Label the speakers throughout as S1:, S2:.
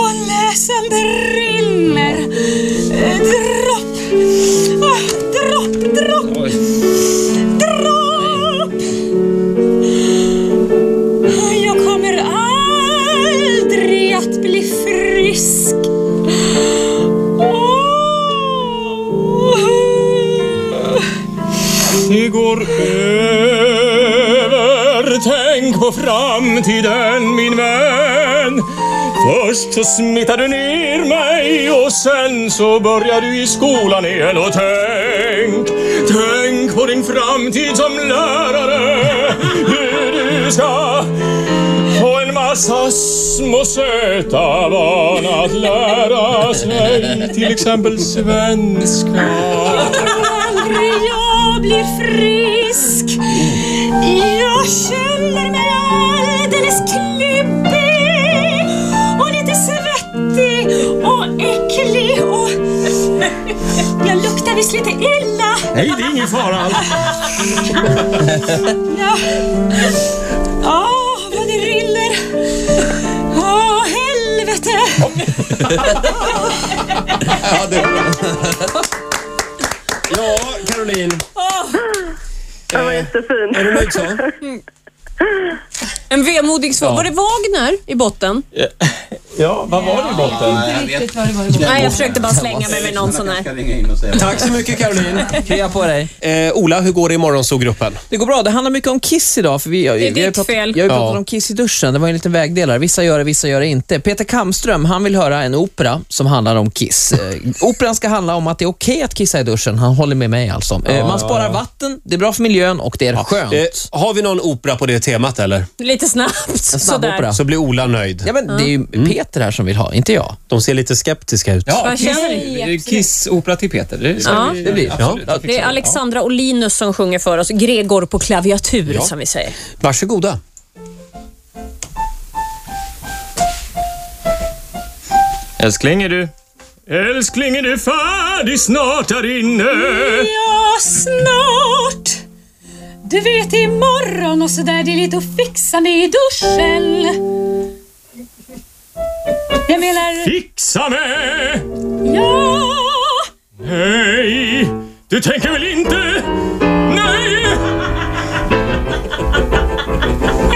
S1: Ah,
S2: framtiden min vän. Först så smittar du ner mig och sen så börjar du i skolan igen och tänk, tänk på din framtid som lärare. Hur du ska få en massa små söta barn att lära sig till exempel svenska.
S1: Aldrig jag blir frisk Jag känner mig alldeles klibbig och lite svettig och äcklig och jag luktar visst lite illa.
S2: Nej, det är ingen fara alls.
S1: Ja, Åh, vad det rinner. Åh, helvete.
S3: Ja, Caroline. Eh,
S4: Den var jättefin.
S3: Är du nöjd så?
S5: En vemodig svår. Var det Wagner i botten?
S2: Ja, vad var det i botten?
S6: Jag vet
S7: Riktigt vad det var i
S5: Nej, jag försökte bara slänga mig med någon sån
S6: Jag ska
S5: här.
S6: ringa in och säga.
S3: Tack så mycket Caroline.
S8: Krya på dig.
S3: Eh, Ola, hur går det i morgonsågruppen?
S8: Det går bra. Det handlar mycket om kiss idag. För vi, det vi
S5: ditt
S8: har ju pratat,
S5: fel.
S8: Jag har ju pratat
S3: Ja.
S8: om kiss i duschen. Det var ju en liten vägdelare. Vissa gör det, vissa gör det inte. Peter Kamström, han vill höra en opera som handlar om kiss. Eh, Operan ska handla om att det är okej att kissa i duschen. Han håller med mig alltså. Eh, Man sparar vatten, det är bra för miljön och det är skönt.
S3: Eh, har vi någon opera på det temat eller?
S5: Lite snabbt.
S8: En snabb
S5: Sådär.
S8: opera.
S3: Så blir Ola nöjd.
S8: Ja, men det är ju Peter här som vill ha, inte jag.
S3: De ser lite skeptiska ut.
S5: Vad känner du?
S9: Kiss-opera till Peter. Det ska
S5: Ja.
S9: vi-
S8: Det blir-
S9: absolut,
S8: ja.
S9: jag
S5: Det
S9: fixar
S5: är Alexandra Olinus som sjunger för oss. Gregor på klaviatur, som vi säger.
S3: Varsågoda.
S2: Älskling är du. Älskling är du färdig snart där inne?
S1: Ja, snart. Du vet imorgon och sådär, det är lite att fixa med i duschen. Jag menar,
S2: Fixa med!
S1: ja.
S2: Nej, du tänker väl inte? Nej!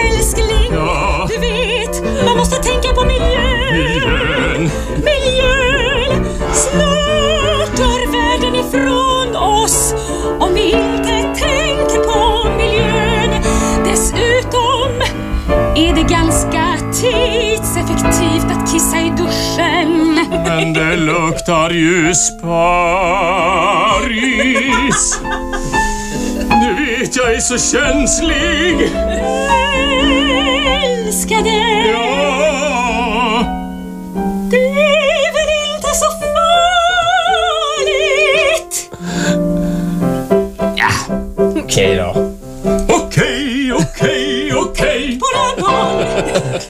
S1: Älskling,
S2: Ja,
S1: du vet, man måste tänka på miljön.
S2: miljön.
S1: Miljön, snart dör världen ifrån oss om vi inte tänker på miljön. Dessutom är det ganska tidseffektivt att kissa i duschen.
S2: Men det luktar ju sparris. Du vet, jag är så känslig.
S1: Älskade,
S2: Ja,